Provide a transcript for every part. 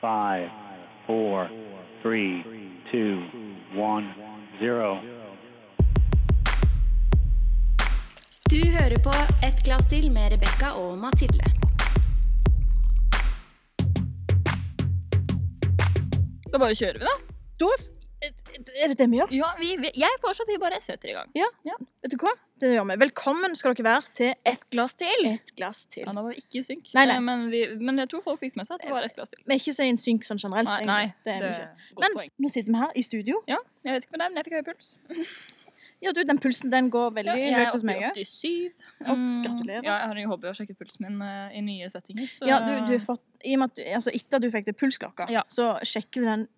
five, four, three, two, one, zero. Du hører på Et glass til med Rebekka og Mathilde. Da bare kjører vi, da. Da f- et- et- er det det vi gjør. Ja, vi, vi, jeg foreslår at vi bare setter i gang. Vet du hva? Det gjør vi. Velkommen skal dere være til Et glass til. Et glass til. Ja, nå var vi ikke i synk, Nei, nei. Eh, Men, vi, men jeg tror folk fikk med seg at det var ett glass til. Vi er ikke så i synk sånn generelt. Nei, egentlig. nei, det er vi ikke. godt Men- poeng. Nå sitter vi her i studio. Ja, jeg vet ikke med deg, men jeg fikk høy puls. Ja, du, den pulsen den går veldig jeg høyt hos meg òg. 87. Å, Mm, gratulerer. Ja, jeg har en hobby å sjekke pulsen min eh, i nye settinger. Så, eh, Ja, du, du har fått, i og med at du, altså, etter at du fikk det pulsklokka, Ja. så sjekker du den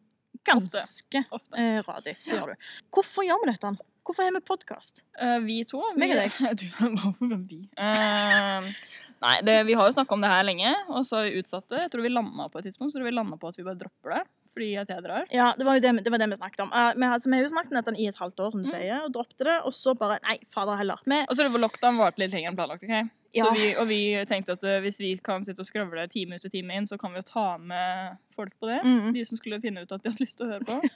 ganske Ofte. eh, radig. Det gjør du. Hvorfor gjør vi dette? Hvorfor har vi podkast? Eh, vi to. Vi, Meg og deg. Du, Hvorfor var vi? Eh, nei, det, vi har jo snakka om det her lenge, og så har vi utsatt det. Jeg tror vi landa på et tidspunkt, så tror vi landa på at vi bare dropper det. Fordi at jeg drar. Ja, det var jo det, vi- det, var det vi snakket om. Eh, vi, har- altså, vi har jo snakket om dette i et halvt år, som du Mm. sier, og droppet det, og så bare Nei, fader heller. Vi, Og så var lockdown varte litt lenger enn planlagt. ok? Så ja, vi, og vi tenkte at eh, hvis vi kan sitte og skravle time ut og time inn, så kan vi jo ta med folk på det. mm, De som skulle finne ut at de hadde lyst til å høre på.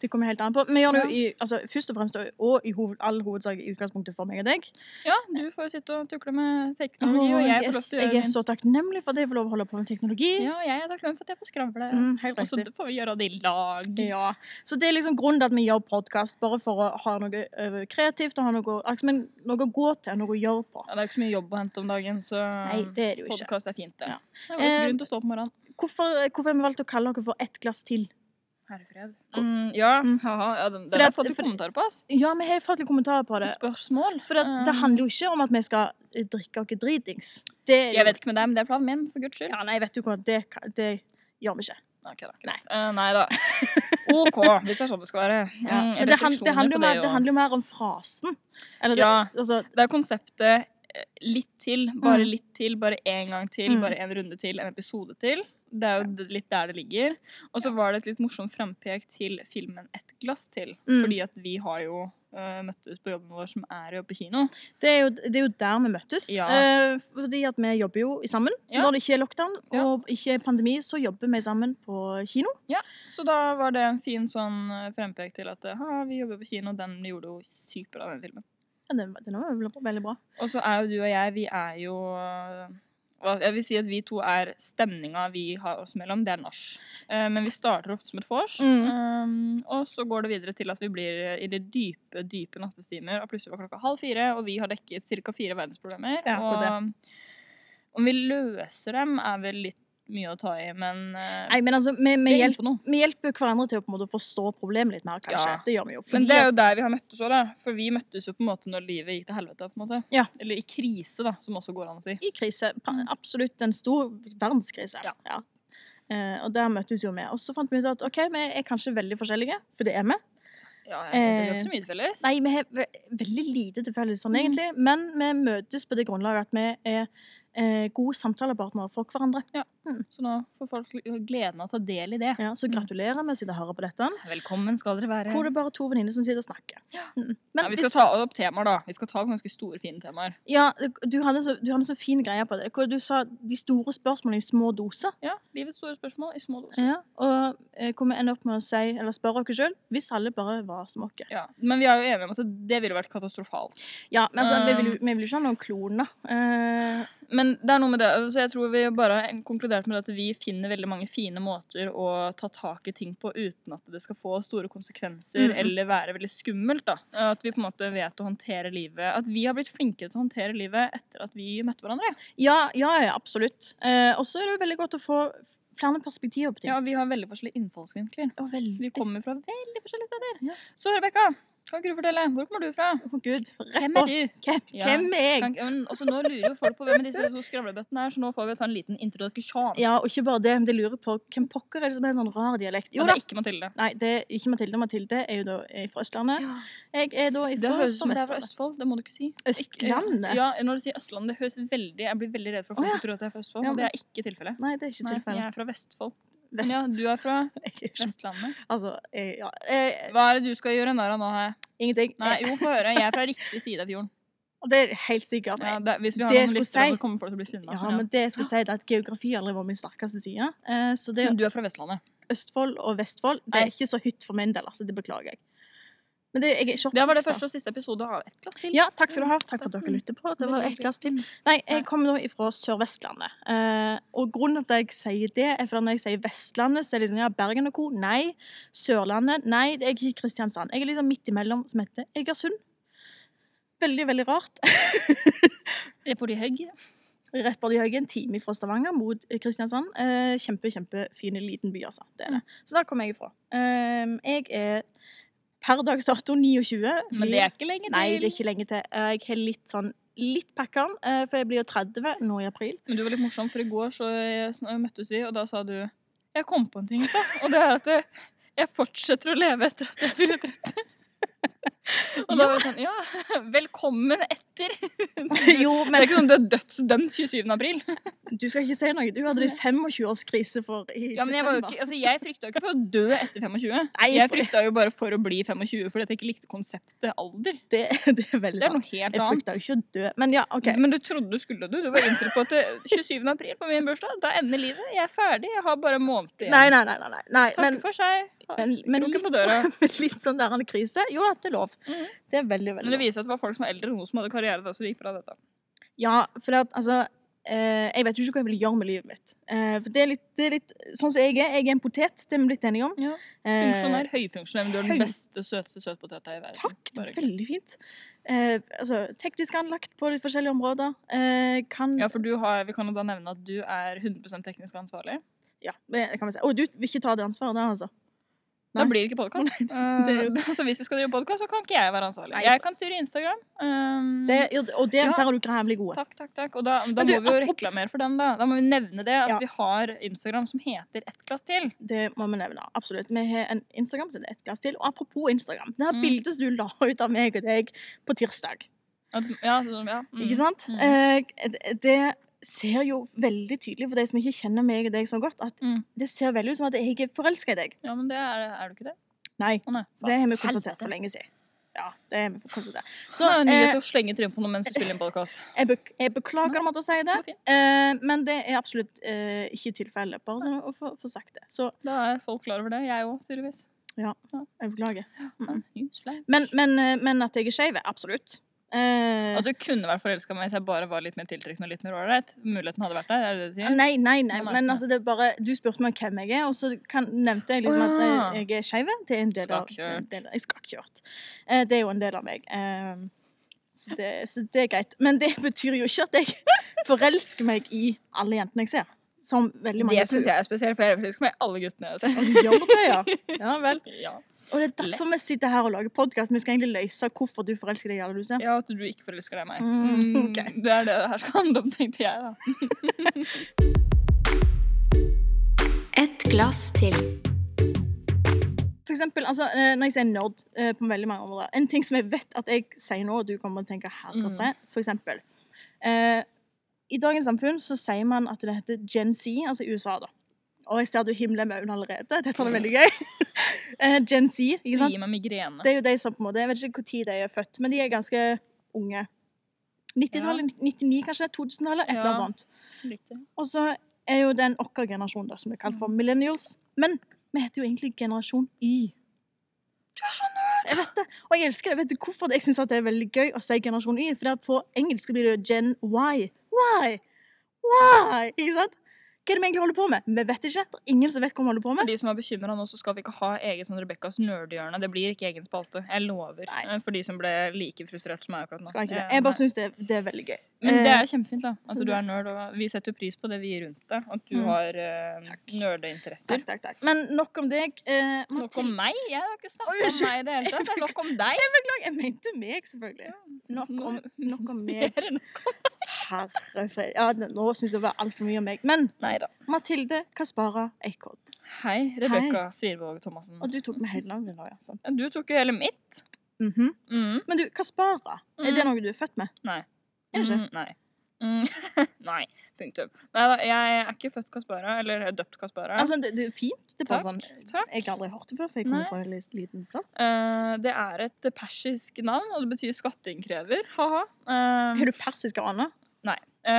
det kommer helt an på. Vi gjør det jo i, altså, først og fremst og- og i hoved, all hovedsak i utgangspunktet for meg og deg. Ja, du får sitte og tukle med teknologi, Åh, og jeg får yes, lov til å gjøre jeg er min så takknemlig for at jeg får lov å holde på med teknologi. Ja, jeg er takknemlig for at jeg får skravle. Mm, helt og så riktig. får vi gjøre det i lag. Ja. Så det er liksom grunnen til at vi gjør podkast, bare for å ha noe eh, kreativt og ha noe, altså, men noe å gå til, noe å gjøre på. Ja, det er jo ikke så mye jobb å hente om dagen, så Nei, det er det jo ikke. podkast er fint, det. Ja. Det er jo Eh, grunn til å stå opp om morgenen. Hvorfor, hvorfor har vi valgt å kalle dere for Ett glass til? Herre fred. Mm, ja, Mm. haha. Ja, den, Fordi den har at- jeg fått litt fordi- kommentarer på, ass. Ja, vi har fått litt kommentarer på det. Spørsmål. For det, det Um, handler jo ikke om at vi skal eh, drikke oss dritings. Det, er jo- Jeg vet ikke med deg, men det er planen min, for guds skyld. Ja, nei, vet du hva, det, ka- det gjør vi ikke. Ok, da. Nei. Eh, nei da. OK, hvis det er sånn det skal være. Ja. Mm, Men det, han, restriksjoner det, handler jo på mer, det og- handler jo mer om frasen. Eller det, Ja. altså, Det er konseptet eh, litt til, bare Mm. litt til, bare én gang til, Mm. bare en runde til, en episode til. Det er jo d- litt der det ligger. Og så var det et litt morsomt frampek til filmen 'Et glass til'. Mm. Fordi at vi har jo eh, møttes på jobben vår, som er jo på kino. det, er jo, det er jo der vi møttes. Ja. Eh, fordi at vi jobber jo sammen. Ja. Når det ikke er lockdown Ja. og ikke er pandemi, så jobber vi sammen på kino. Så da var det en fin sånn eh, frempek til at eh, ha, vi jobber på kino. Den gjorde jo sykt bra, den filmen. Ja, den, den var vel veldig bra. Og så er jo du og jeg, vi er jo øh, hva- Jeg vil si at vi to er stemninga vi har oss mellom, det er nach. Eh, Men vi starter ofte som et vors, Mm. ehm, og så går det videre til at vi blir i de dype, dype nattestimer, og plutselig var klokka halv fire, og vi har dekket ca. fire verdensproblemer. Ja, og akkurat om vi løser dem, er vel litt mye å ta i, men eh, Nei, men altså, vi, det vi, er hjelper, inne på noe. vi hjelper jo hverandre til å på en måte forstå problemet litt mer, kanskje. Ja. Det gjør vi jo. Men Fordi det er at- jo der vi har møttes òg, da. For vi møttes jo på en måte når livet gikk til helvete. på en måte. Ja. Eller i krise, da, som også går an å si. i krise. Pa- Mm. Absolutt en stor verdenskrise. Ja. Eh, og der møttes jo vi. Og så fant vi ut at OK, vi er kanskje veldig forskjellige, for det er vi. Ja, Det er jo ikke så mye til felles. Nei, vi har ve veldig lite til felles sånn, Mm. egentlig, men vi møtes på det grunnlaget at vi er eh, gode samtalepartnere for hverandre. Så nå får folk gleden av å ta del i det. Ja, så Mm. gratulerer med å sitte og høre på dette. Velkommen skal dere være. Hvor det er bare to venninner som sitter og snakker. Mm. Men ja, vi skal hvis- ta opp temaer, da. Vi skal ta opp ganske store, fine temaer. ja, du, hadde så, du hadde så fin greie på det. Hvor du sa de store spørsmålene i små doser. Ja, Livets store spørsmål i små doser. Ja, og eh, hvor vi ender opp med å si, eller spørre oss sjøl, hvis alle bare var som oss. Ja. Men vi er jo enige om at det ville vært katastrofalt. Ja, men altså, vi, vil, jo- Um. vi vil jo ikke ha noen kloner. Eh, Men det er noe med det, så jeg tror vi bare har konkludert med at vi finner veldig mange fine måter å ta tak i ting på uten at det skal få store konsekvenser Mhm. eller være veldig skummelt. da. At vi på en måte vet å håndtere livet. At vi har blitt flinkere til å håndtere livet etter at vi møtte hverandre. ja, ja, ja, absolutt. Eh, og så er det jo veldig godt å få flere perspektiver på ting. Ja, Vi har veldig forskjellige innfallsvinkler. Å, veldig. Vi kommer fra veldig forskjellige steder. Ja. Så Rebekka, kan ikke du fortelle? Hvor kommer du fra? Å, Gud. Rett Hvem på. er du? Hvem, Ja. hvem er jeg? Kan, men også nå lurer jo folk på hvem er disse to skravlebøttene er, så nå får vi ta en liten introduksjon. Ja, og ikke bare det, men de lurer på hvem pokker er det som har en sånn rar dialekt. Jo Men da. det er ikke Mathilde. Nei, det er ikke Mathilde. Mathilde er jo da er fra Østlandet. Jeg er da Det ifra høres ut som det er fra Vestlandet. Østfold, det må du ikke si. Østlandet? Ikke- Ja, når du sier Østlandet, det høres veldig Jeg blir veldig redd for folk Å, ja. som tror at jeg er fra Østfold, Ja, og det men- er ikke tilfellet. Nei, det er ikke Nei, jeg tilfellet. er fra Vestfold. Men Vest. ja, du er fra Jeg er ikke- Vestlandet. Altså, jeg, ja. Eh, Hva er det du skal gjøre narr av nå? Her? ingenting. Nei, jo, få høre. Jeg er fra riktig side av fjorden. Og det er helt sikkert. Ja, det, hvis vi har Det jeg noen skulle lyttere, si- så kommer folk til å bli sinna. Ja, men det jeg skulle si er at geografi har aldri vært min sterkeste side. Eh, Så det Men du er fra Vestlandet. Østfold og Vestfold det Mm. Nei. er ikke så hytt for min del, altså. Det beklager jeg. Men det, jeg er ikke Det var det oppvokst da. første og siste episode av Ett glass til. Ja, takk skal du ha. Takk for at dere lytter på. Det var ett glass til. Nei, jeg kommer nå ifra Sør-Vestlandet. Eh, og grunnen til at jeg sier det, er fordi når jeg sier Vestlandet, så er det liksom ja, Bergen og co. Nei. Sørlandet. Nei, det er ikke Kristiansand. Jeg er liksom midt imellom, som heter Egersund. Veldig, veldig rart. Jeg er på de høgg. Rett borti Høygen, en time fra Stavanger mot Kristiansand. Eh, kjempe, kjempefin liten by, altså. Det er det. Så der kommer jeg ifra. Eh, jeg er per dags dato 29. Men det er ikke lenge til. Nei, det er ikke lenge til. Eh, Jeg har litt sånn litt pakkeren, eh, for jeg blir jo 30 nå i april. Men du var litt morsom, for i går så eh, sn- møttes vi, og da sa du Jeg kom på en ting, da. Og det er at eh, jeg fortsetter å leve etter at jeg fyller 30. Og da var det sånn Ja, velkommen etter. Det jo, er men ikke sånn du er dødsdømt 27. april. du skal ikke si noe. Du hadde din 25-årskrise for i Ja, men jeg, var jo desember. ikke, altså, jeg frykta jo ikke for å dø etter 25. Nei, Jeg for- frykta jo bare for å bli 25 fordi at jeg ikke likte konseptet alder. det, det er veldig Det er sant. noe Mm, helt Jeg frykta annet. jo ikke å dø. Men ja, OK. Men du trodde du skulle dø. Du var innstilt på at eh, 27. april på min bursdag, da ender livet. Jeg er ferdig. Jeg har bare en måned igjen. Nei, nei, nei. nei, nei. nei Takk men, for seg. men, men Kroken litt, på døra. sånn- litt sånn der en krise. Jo, det er lov. Mhm. Det er veldig, veldig Men det lov. viser at det var folk som var eldre enn hun som hadde karriere da, så det gikk bra, dette. Ja, for det at, altså eh, Jeg vet jo ikke hva jeg vil gjøre med livet mitt. Eh, for det er, litt, det er litt sånn som jeg er. Jeg er en potet, det er vi blitt enige om. Ja. Eh, Funksjonær, høyfunksjonær, men du er den høy- beste, søteste søtpoteta i verden. Takk, det Bare var gøy. veldig fint. Eh, altså, teknisk anlagt på litt forskjellige områder. Eh, kan Ja, for du har, vi kan jo da nevne at du er 100 teknisk ansvarlig. Ja, men det kan vi si. Å, du vil ikke ta det ansvaret der, altså? Da Nei. blir det ikke podkast. det er jo- så hvis du skal drive podkast, så kan ikke jeg være ansvarlig. Nei, Jeg kan styre Instagram. Um, Det, ja, og det, Ja. der er du grævlig god. Takk, takk, takk. Og da, da Men du, må vi jo apropos- reklamere for den, da. Da må vi nevne det at Ja. vi har Instagram som heter Ett glass til. Det må vi nevne. Absolutt. Vi har en Instagram som det er et glass til. Og apropos Instagram. Det her Mm. bildet som du la ut av meg og deg på tirsdag, At, ja, så- ja. mm. ikke sant? Mm. Eh, det- det ser jo veldig tydelig for de som ikke kjenner meg og deg så godt, at Mm. det ser veldig ut som at jeg er forelska i deg. ja, men det er, er du ikke det? Nei. Å nei. Det har vi Helvete. konstatert for lenge siden. Ja, det har vi konstatert. Så Så nyhet eh, å slenge trynet på noen mens du spiller inn podkast. jeg, bek jeg beklager om at jeg sier det, eh, men det er absolutt eh, ikke tilfellet. Bare sånn å få få sagt det. Så Da er folk klar over det. Jeg òg, tydeligvis. jeg beklager. Mm. Newsflash. Men, men, eh, men at jeg er skeiv, er absolutt. Eh, At du kunne vært forelska meg hvis jeg bare var litt mer tiltrekkende og litt mer ålreit. Muligheten hadde vært der. er det det du sier? nei, nei, nei, Nei, nei, men nei. altså, det er bare Du spurte meg hvem jeg er, og så kan, nevnte jeg liksom Å, ja. at jeg, jeg er skeiv. Det er en del av Skakkjørt. en del av- Jeg skakkjørt. Eh, det er jo en del av meg. Eh, så, det, så det er greit. Men det betyr jo ikke at jeg forelsker meg i alle jentene jeg ser. Som veldig mange Det syns jeg er spesielt, for jeg er forelska med alle guttene. Så. tror. Gjør det, ja. ja vel. Ja. Og det er derfor vi sitter her og lager podkast. Vi skal egentlig løse hvorfor du forelsker deg i alle du ser. ja, at du ikke forelsker deg i meg. Mm, Mm, ok. Det er det det her skal handle om, tenkte jeg. da. Et glass til. For eksempel, altså, eh, når jeg sier nerd eh, på veldig mange områder En ting som jeg vet at jeg sier nå, og du kommer til å tenke herre Mm. fred, for eksempel eh, I dagens samfunn så sier man at det heter Gen Z, altså i USA, da. Og jeg ser du himler med øynene allerede. Dette er veldig gøy. eh, Gen Z, ikke Det sant? gir meg migrene. Det er jo de som på en måte Jeg vet ikke når de er født, men de er ganske unge. 90-tallet, 99 kanskje? 2000-tallet? Et eller Ja. annet sånt. Riktig. Og så er jo den vår generasjon, da, som vi kaller for Mm. millennials. Men vi heter jo egentlig generasjon Y. Du er så nerd! Jeg vet det. Og jeg elsker det. Vet du hvorfor jeg syns det er veldig gøy å si generasjon Y? For på engelsk blir det jo gen Y. Why? Why? Ikke sant? Hva er det vi egentlig holder på med? Vi vet ikke. Det er ingen som vet hva vi holder på For med. de som er bekymra nå, så skal vi ikke ha eget sånn Rebekkas nerdhjørne. Det blir ikke egen spalte. Jeg lover. Eh, Nei. For de som ble like frustrert som meg akkurat nå. Skal ikke det. Eh, Jeg nei. bare syns det, det er veldig gøy. Men det Eh, er kjempefint, da. At så du bra. er nerd. Og vi setter jo pris på det vi gir rundt deg. At du Mm. har eh, Takk. nerdeinteresser. Takk, takk, takk. Men nok om deg. Eh, Nok Mathilde, om meg? Jeg har ikke Oi, snakket om unnskyld. meg i det hele tatt. Det er nok om deg. jeg mente meg, selvfølgelig. Nok om, nok om Mer meg. enn- Herre fred. Ja, nå syns jeg det var altfor mye om meg. Men Nei da. Mathilde Kaspara Eikhodd. Hei, Rebekka Sirvåg Thomassen. Og du tok med hele navnet nå, ja. sant? Ja, Du tok jo hele mitt. Mhm. Mm. Men du, Kaspara, er det noe du er født med? Nei. Er det ikke? Mm, Nei. Mm. Nei. Punktum. Nei da, jeg er ikke født Caspara, eller døpt Caspara. Altså, det, det er fint. Det er bare sånn Takk. Jeg har aldri hørt det før, for jeg kommer Nei. fra en lis- liten plass. Eh, det er et persisk navn, og det betyr skattinnkrever. Ha-ha. Eh, Har du persiske aner?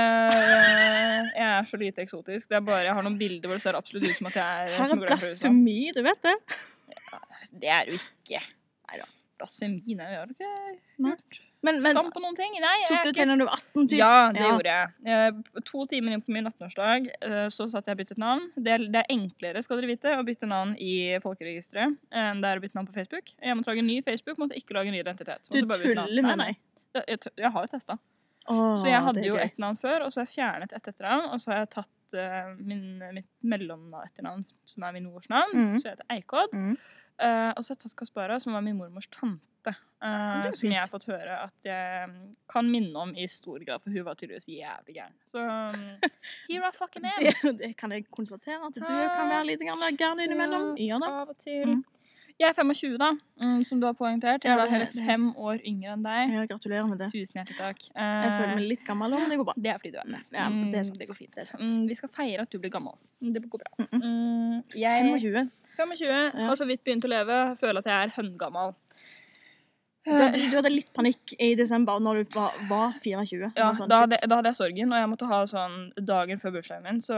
eh, jeg er så lite eksotisk. Det er bare, Jeg har noen bilder hvor det ser absolutt ut som at jeg er Her er smugler fra Russland. blasfemi, du vet det. Det er jo ikke. Nei da. Blasfemi, nei, vi har ikke Nei. gjort Men, men skam på noen ting. Nei, jeg tok er du ikke til når du var 18? Typ? Ja, det Ja. gjorde jeg. Eh, To timer inn på min 18-årsdag eh, så satt jeg og byttet navn. Det er, det er enklere skal dere vite, å bytte navn i folkeregisteret enn det er å bytte navn på Facebook. Jeg måtte lage en ny Facebook, måtte ikke lage en ny identitet. Du Måtte bare bytte navn. tuller med Nei, meg. nei. Jeg, tø- jeg har jo testa. Åh, Så jeg hadde det er jo gøy. ett navn før, og så har jeg fjernet ett etternavn. Og så har jeg tatt eh, min, mitt mellom-etternavn, som er min mors navn, Mhm. så jeg heter Eikodd. Mhm. Eh, og så har jeg tatt Kaspara, som var min mormors tante. eh, Det er jo som jeg har fint. fått høre at jeg mm, kan minne om i stor grad, for hun var tydeligvis jævlig gæren. Så um, here I fucking am! det, det kan jeg konstatere, at du Ah. kan være litt grann gæren innimellom. Ja da. sånn Av og til. Mhm. Jeg er 25, da, mm, som du har poengtert. Jeg Ja, er da det- hele det- fem år yngre enn deg. Ja, gratulerer med det. Tusen hjertelig takk. Jeg Eh, føler meg litt gammel, men det går bra. det er fordi du er med. Ja, Mm, det er sant. det går fint. Det er sant. Mm, vi skal feire at du blir gammel. Det går bra. Mm, Mm, jeg 25. 25, Ja. har så vidt begynt å leve. Føler at jeg er høngammal. Du hadde, du hadde litt panikk i desember når du var, var 24. Ja, Sånn, shit. da, hadde, da hadde jeg sorgen, og jeg måtte ha sånn dagen før bursdagen min, så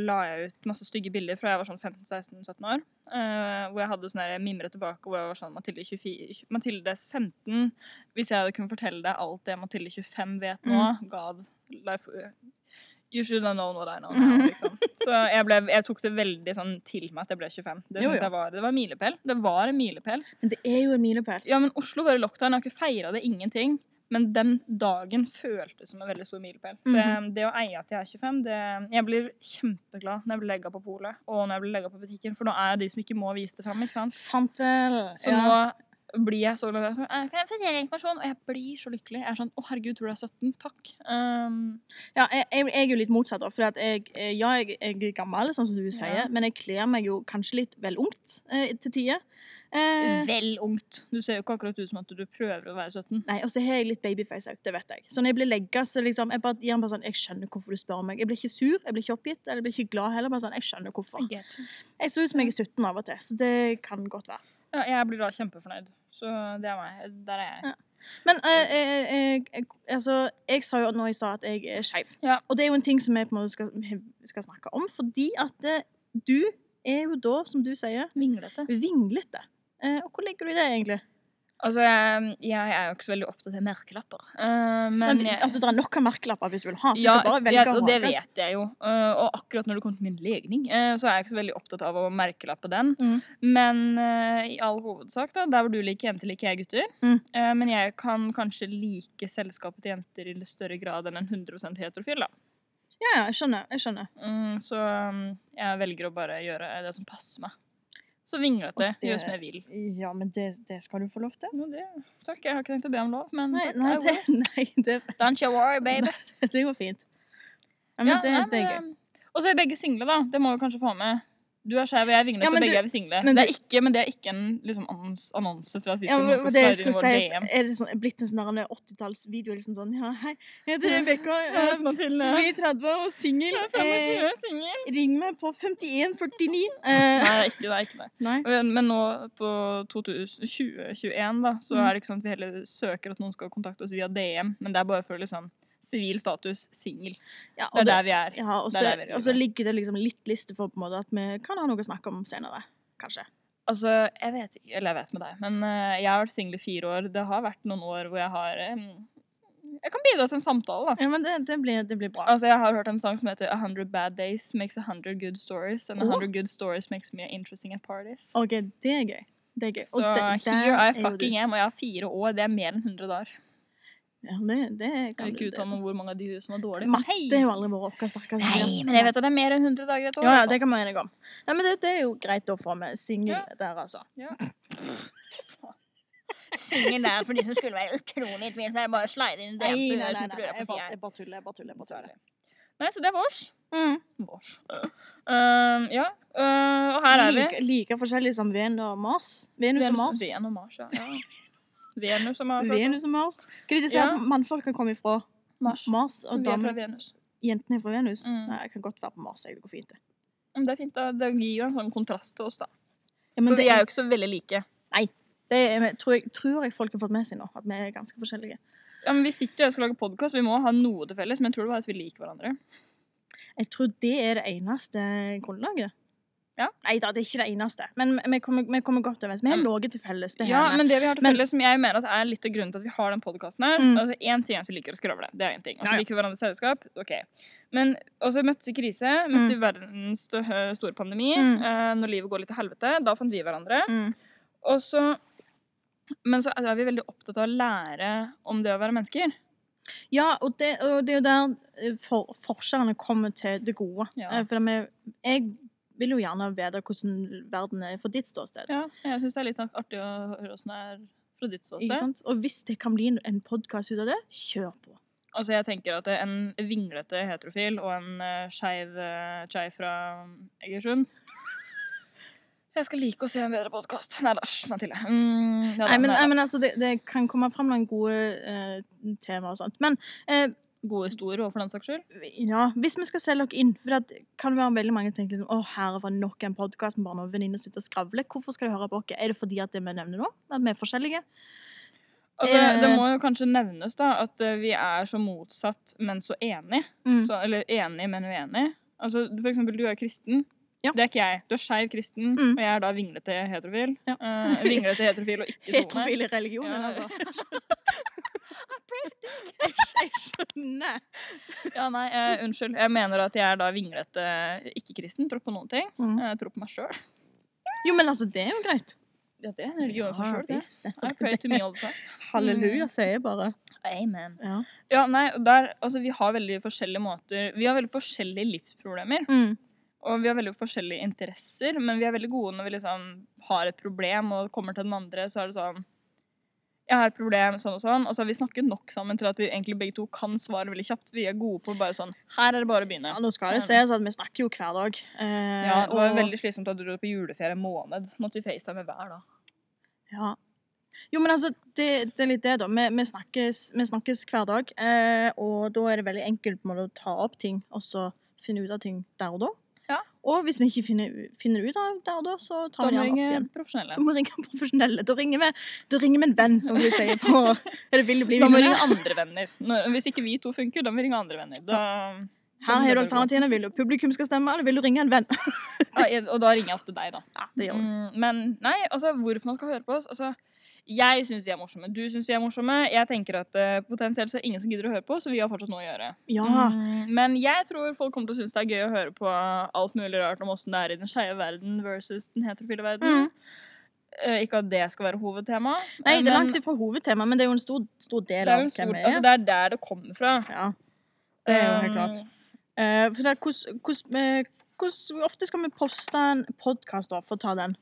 la jeg ut masse stygge bilder fra jeg var sånn 15-16-17 år, eh, hvor jeg hadde sånn der jeg mimret tilbake, hvor jeg var sånn Mathilde 24, Mathildes 15, hvis jeg hadde kunnet fortelle deg alt det Mathilde 25 vet nå, Mm. God, life, you should have known what I know now, Mhm. liksom. Så jeg, ble, jeg tok det veldig sånn til meg at jeg ble 25. Det Jo, synes jo. jeg var, det var en milepæl. Det var en milepæl. Men det er jo en milepæl. Ja, men Oslo var i lockdown. Jeg har ikke feira det, ingenting. Men den dagen føltes som en veldig stor milepæl. Mhm. Så jeg, det å eie at jeg er 25 det, Jeg blir kjempeglad når jeg blir legga på polet og når jeg blir legga på butikken, for nå er jeg de som ikke må vise det fram. ikke sant? Sant vel? Så ja. nå blir jeg så glad. Jeg er sånn, kan jeg fortelle informasjon? Og jeg blir så lykkelig. Jeg er sånn Å, herregud, tror du jeg er 17? Takk. Um, Ja, jeg, jeg, jeg er jo litt motsatt, da. For at jeg, eh, ja, jeg, jeg er gammel, sånn som du sier, Ja. men jeg kler meg jo kanskje litt vel ungt eh, til tider. Eh, vel ungt. Du ser jo ikke akkurat ut som at du prøver å være 17. nei, og så har jeg litt babyface òg, det vet jeg. Så når jeg blir legga, så liksom Jeg bare gir han bare sånn Jeg skjønner hvorfor du spør meg. Jeg blir ikke sur, jeg blir ikke oppgitt, eller jeg blir ikke glad heller. Bare sånn Jeg skjønner hvorfor. Jeg ser ut som jeg er 17 av og til, så det kan godt være. Ja, jeg blir da kjempefornøyd. Så det er meg. Der er jeg. Men eh, eh, eh, jeg- altså, jeg sa jo når jeg sa at jeg er skeiv. Ja. Og det er jo en ting som vi på en måte skal, skal snakke om, fordi at eh, du er jo da, som du sier, Vinglete. vinglete. Eh, og hvor legger du det, egentlig? Altså, jeg, jeg er jo ikke så veldig opptatt av merkelapper. eh, men Men, jeg- altså, Det er nok av merkelapper hvis du vil ha, så ja, du kan bare velge jeg, å og ha det vet jeg jo. Eh, og akkurat når det kom til min legning, eh, så er jeg ikke så veldig opptatt av å merkelappe den. Mm. Men eh, i all hovedsak, da, der hvor du liker jenter, liker jeg gutter. Mm. Eh, men jeg kan kanskje like selskapet til jenter i større grad enn en 100 heterofil, da. Ja, ja, jeg skjønner. jeg skjønner. Mm, så eh, jeg velger å bare gjøre det som passer meg. Så vinglete. Og det- Gjør som jeg vil. Ja, men det, det skal du få lov til. Nå, det, takk. Jeg har ikke tenkt å be om lov, men Nei, Mm, takk, nei, I det, will. nei, det, Don't you worry, baby. det går fint. Ja, men Ja, det, nei, det er gøy. men, eh, Og så er begge single, da. Det må vi kanskje få med. Du er skeiv, og jeg er vinglete, Ja, men og begge du- er vi single. men det er ikke, men det er ikke en liksom, annons- annonse for at vi Ja, skal, men, noen skal det svare jeg skulle i vår si, DM. er det sånn, blitt en sånn der 80-tallsvideo? Liksom sånn Ja, hei, jeg heter Rebekka. Jeg eh, heter Mathilde. Vi er 30 og singel. Jeg er Eh, 25, singel. ring meg på 5149. Eh, Nei, det er ikke det. er ikke det. nei. Men, men nå på 2021, da, så Mm. er det ikke sånn at vi heller søker at noen skal kontakte oss via DM, men det er bare for liksom sivil status, singel. Ja, Det og er det, der vi er. ja, og det så, er der vi er. og så ligger det liksom litt liste for på en måte at vi kan ha noe å snakke om senere. Kanskje. Altså, jeg vet ikke, eller jeg vet med deg, men eh, jeg har vært singel i fire år. Det har vært noen år hvor jeg har eh, Jeg kan bidra til en samtale, da. Ja, men det, det, blir, det blir bra. Altså, jeg har hørt en sang som heter A Hundred Bad Days Makes a Hundred Good Stories And a Åh. Hundred Good Stories Makes Me Interesting at Parties OK, det er gøy. Det er gøy. Så Og det, der here er I jo du. fucking am Og jeg har fire år, det er mer enn 100 dager ja, det, det Jeg kan vil du. ikke Det. uttale meg om hvor mange av de som var dårlige Matte har jo aldri vært vår sterkeste. Nei, men jeg vet at det er mer enn 100 dager i et år sånn. Ja, ja, det i hvert fall. kan vi enige om. Nei, men det, det er jo greit å få med singel Ja. der, altså. Singel der for de som skulle være utrolig i tvil, så er det bare å slide inn i det. Nei, til dere nei, nei, som nei, tror jeg jeg på bare siden. jeg bare tuller. Jeg bare tuller. Jeg bare tuller. Nei, så det er vårs Mm. Vårs Øhm, Ehm, Ja, øh, og her er vi Like, like forskjellig som Venus og Mars. Venus og Mars. Venus og Mars, ja, ja Venus og Mars altså. Venus og Mars. Hva er det de sier Ja. at mannfolk kan komme ifra? Mars. Mars og Vi er fra damen, Venus. jentene er fra Venus. Mm. Nei, jeg kan godt være på Mars. Jeg, det går fint, det. Men det er fint, da. Det gir jo en sånn kontrast til oss, da. Ja, men For det, vi er er, jo ikke så veldig like. det er, tror, jeg, tror jeg folk har fått med seg nå, at vi er ganske forskjellige. Ja, men Vi sitter jo og skal lage podkast, vi må ha noe til felles, men jeg tror det var at vi liker hverandre. Jeg tror det er det eneste grunnlaget. Ja. Nei da, det er ikke det eneste. Men vi- vi kommer, vi kommer godt overens. Vi har Ja, men- noe til felles. Det Ja, her. men det vi har til Men- felles, som jeg mener at er litt av grunnen til at vi har den podkasten her Mm. altså Én ting er at vi liker å skravle, det er én ting. Og så Ja, ja. liker vi hverandres selskap. ok. Men også møttes i krise, møttes i verdens stø- store pandemi. Mm. Eh, når livet går litt til helvete, da fant vi hverandre. Mm. Og så, men så er vi veldig opptatt av å lære om det å være mennesker. Ja, og det, og det er jo der eh, for, forskjellene kommer til det gode. Ja. Eh, For det med, jeg vil jo gjerne vite hvordan verden er fra ditt ståsted. Ja, Jeg syns det er litt artig å høre åssen det er fra ditt Ikke ståsted. sant? Og hvis det kan bli en- en podkast ut av det, kjør på. Altså, jeg tenker at en vinglete heterofil og en eh, skeiv eh, chai fra Egersund Jeg skal like å se en bedre podkast. Nei da, hysj, Mathilde. Mm, ja da, Nei, men, nei nei, da. men altså, det, det kan komme fram noen gode eh, temaer og sånt. Men eh, Gode historier og for den saks skyld. ja, hvis vi skal selge dere inn For det kan være veldig mange som tenker liksom, å, herre, var det nok en podkast med bare noen venninner sitter og skravler. Hvorfor skal de høre på oss? Er det fordi at det vi nevner nå, at vi er forskjellige? Altså, det Eh. må jo kanskje nevnes da at eh, vi er så motsatt, men så enig. Mm. Så, eller enig, men uenig. Altså, for eksempel, du er kristen. Ja. Det er ikke jeg. Du er skeiv kristen, Mm. og jeg er da vinglete heterofil. Ja. Eh, vinglete heterofil og ikke troende. Heterofil i religionen, Ja. altså. Jeg skj- Jeg skjønner. Ja, nei, eh, unnskyld. Jeg mener at jeg er da vinglete ikke-kristen. Tror ikke på noen ting. Mm. Jeg tror på meg sjøl. Jo, men altså, det er jo greit. Ja, det er religionen seg sjøl, det. visst. Mm. I pray to me all the time. Halleluja, sier jeg bare. Amen. Ja. Ja, nei, og der, altså, vi har veldig forskjellige måter Vi har veldig forskjellige livsproblemer. Mm. Og vi har veldig forskjellige interesser, men vi er veldig gode når vi liksom har et problem og kommer til den andre, så er det sånn jeg har et problem, sånn og sånn. Og så har vi snakket nok sammen til at vi egentlig begge to kan svare veldig kjapt. Vi er gode på bare sånn Her er det bare å begynne. Ja, nå skal det ses at vi snakker jo hver dag. Eh, Ja, det var og- veldig slitsomt at du dro på juleferie en måned. Måtte vi facetime hver dag. Ja. Jo, men altså, det, det er litt det, da. Vi, vi, snakkes, vi snakkes hver dag, eh, og da er det veldig enkelt på en måte å ta opp ting, og så finne ut av ting der og da. Ja. Og hvis vi ikke finner, finner ut av der og da, så Da tar vi må det vi gjerne opp ringe igjen. profesjonelle. Da må vi ringe profesjonelle. Da ringer vi, da ringer vi en venn, som vi sier på Er det Vil du bli Da må vi millionær? ringe andre venner. Når, hvis ikke vi to funker, da må vi ringe andre venner. Da, Her har du alternativene. Vil du publikum skal stemme, eller vil du ringe en venn? ja, og da ringer jeg ofte deg, da. Ja, det gjør vi. Mm, men nei, altså hvorfor man skal høre på oss altså, Jeg syns vi er morsomme, du syns vi er morsomme. Jeg tenker at eh, potensielt så er det ingen som gidder å høre på, så vi har fortsatt noe å gjøre. Ja. Mm, men jeg tror folk kommer til å synes det er gøy å høre på alt mulig rart om åssen det er i den skeive verden versus den heterofile verden. Mm. Eh, Ikke at det skal være hovedtema. Nei, det er men langt ifra hovedtema, men det er jo en stor, stor det del er, av jo hvem en stor, vi altså, er. det er der det kommer fra. Ja, det er jo helt Um, klart. Eh, for det er hvordan- hvordan- eh, hvordan- Hvor ofte skal vi poste en podkast for å ta den?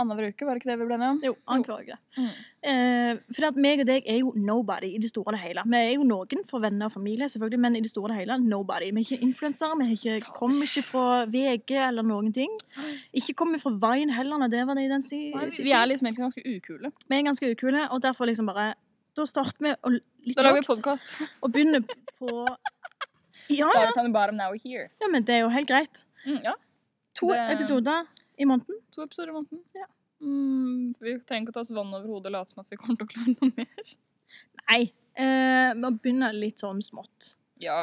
Annenhver uke, var det ikke det vi ble enige om? Jo, annenhver uke. Mm. Eh, for at meg og deg er jo nobody i det store og det hele. Vi er jo noen for venner og familie, selvfølgelig, men i det store og det hele nobody. Vi er ikke influensere, vi er ikke, kommer ikke fra VG eller noen ting. Ikke kommer fra Vine heller, når det var det i den si- Nei, si- Vi er liksom egentlig ganske ukule. Vi er ganske ukule, og derfor liksom bare Da starter vi å litt Da lager vi lågt podkast. og begynner på ja, ja, Start on the bottom, now we're here. ja, men det er jo helt greit. Mm, ja. To Det- episoder i måneden. To episoder i måneden. Ja. Mm, vi trenger ikke å ta oss vann over hodet og late som at vi kommer til å klare noe mer. Nei. Eh, vi begynner litt sånn smått. Ja.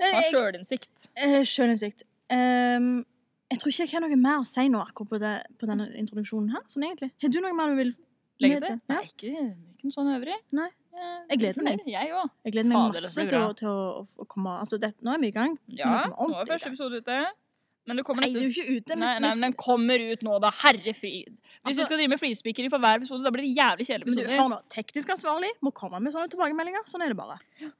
Eh, Ha jeg- sjølinnsikt. Eh, Sjølinnsikt. Ehm, jeg tror ikke jeg har noe mer å si nå akkurat på, det, på denne introduksjonen her. sånn egentlig. Har du noe mer du vil Legg til. med Nei, Ja. ikke, ikke noe sånn øvrig. Nei. Eh, Jeg gleder meg. fornøyd. Jeg òg. Jeg gleder meg Fader, masse det blir til å, bra. til å, å komme altså det, Nå er vi i gang. Ja, Nå kommer nå er ordentlig første episode ute. Men det kommer Nei, det er neste jo ikke ute. Nei, nei, men den kommer ut nå, da. Herre frid. Hvis vi Altså- skal drive med flispikeri for hver episode, da blir det men jævlig du, hør kjedelige episoder. nå. Teknisk ansvarlig må komme med sånne tilbakemeldinger. Sånn er det bare.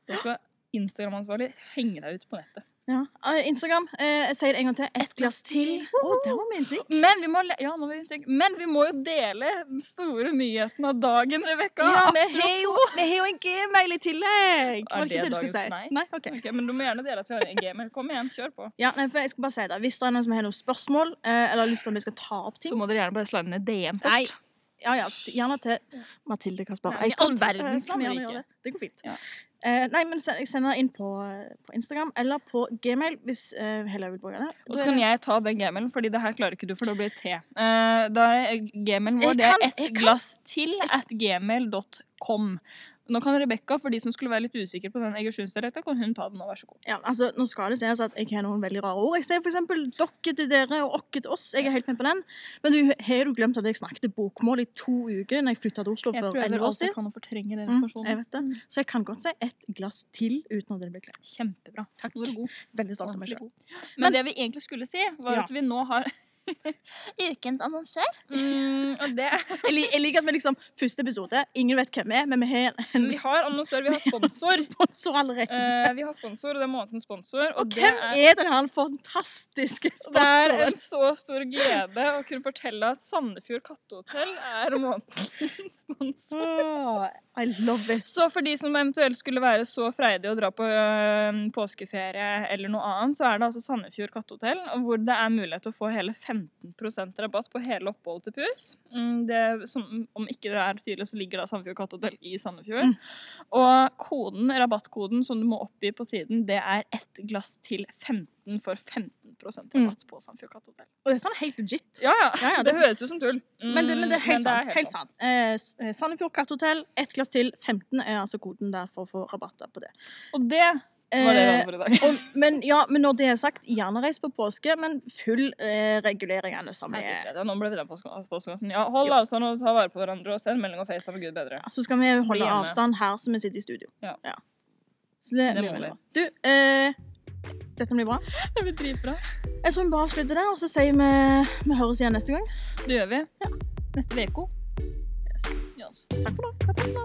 Da skal Instagram-ansvarlig henge deg ut på nettet. Ja. Eh, Instagram. Eh, jeg sier det en gang til. Ett glass til. Å, der var vi en synk. Men vi må, le- ja, nå må vi tenke- men vi må jo dele den store nyheten av dagen, Rebekka. Ja, vi har jo, vi har jo en gmail i tillegg. Var det det ikke det du skulle dagens si? nei? Nei? ok. Ok, men du må gjerne dele at vi har en gamer. Kom igjen, kjør på. Ja, nei, for jeg skal bare si det. Hvis det er noen som har noen spørsmål, eh, eller har lyst til at vi skal ta opp ting Så må dere gjerne bare slå ned DM Nei, først. ja, ja, gjerne til Mathilde Kasper Nei, i Eikholt. all verdens Eh, kan land gjerne rike. gjøre Det Det går fint. Ja. Eh, nei, men send, jeg sender inn på, eh, på Instagram eller på Gmail hvis eh, Helle vil bruke det. Og så kan jeg ta den gmailen, fordi det her klarer ikke du, for da blir det te. Eh, da er gmailen vår Jeg det er kan- ett jeg kan. glass til at gmail.com. Nå kan Rebekka, for de som skulle være litt usikre på den egersjonsdialekta, kan hun ta den nå, vær så god. Ja, altså, nå skal det sies at jeg har noen veldig rare ord. Jeg sier for eksempel dokke til dere og okke til oss. Jeg er helt med på den. Men du, har du glemt at jeg snakket bokmål i to uker når jeg flytta til Oslo Jeg for prøver elleve år alt jeg siden? kan å fortrenge den Mm, jeg informasjonen. vet det. Så jeg kan godt si et glass til uten at det blir kleint. Kjempebra. Takk. Du er god. Veldig stolt av meg sjøl. Ordentlig god. Men, det vi egentlig skulle si, var Ja. at vi nå har Ukens annonsør. mm, Og det Jeg, lik- jeg liker at vi liksom Første episode, ingen vet hvem vi er, men vi har en, en Vi har annonsør, vi har sponsor. sponsor allerede. Eh, vi har sponsor, og det er månedens sponsor. Og, og det hvem er- er den her fantastiske Det er sponsoren? en så stor glede å kunne fortelle at Sandefjord Kattehotell er månedens sponsor. Åh, Ah, I love it. Så for de som eventuelt skulle være så freidige å dra på ø, påskeferie eller noe annet, så er det altså Sandefjord Kattehotell, og hvor det er mulighet til å få hele 15 rabatt på hele oppholdet til pus. Mm, Det, som, om ikke det er tydelig, så ligger da Sandefjord Kattehotell i Sandefjord. Mm. Og koden, rabattkoden som du må oppgi på siden, det er ett glass til 15 for 15 rabatt på Sandefjord Kattehotell. og dette er helt legit. Ja, ja. Ja, ja, det, det- høres ut som tull. Mm, Men det, men det er helt men det sant. helt sant. Eh, S- eh, Sandefjord Katthotell, ett glass til. 15 er altså koden der for å få rabatter på det. Og det var det vi hadde for i dag. Eh, og, men, ja, men når det er sagt, gjerne reis på påske, men full eh, regulering alle sammen. Herregud, Freda, Nå ble vi den påske- påskenatten. Ja, hold avstand og ta vare på hverandre, og send melding og FaceTime og Gud bedre. Så skal vi Bli holde hjemme. avstand her som vi sitter i studio. Ja. Så det, Det blir må veldig vi. bra. Du, eh, dette blir bra. Det blir dritbra. Jeg tror vi bare avslutter der, og så sier vi vi høres igjen neste gang. Det gjør vi. Neste uke. Yes. Yes. Takk for nå. Takk for nå.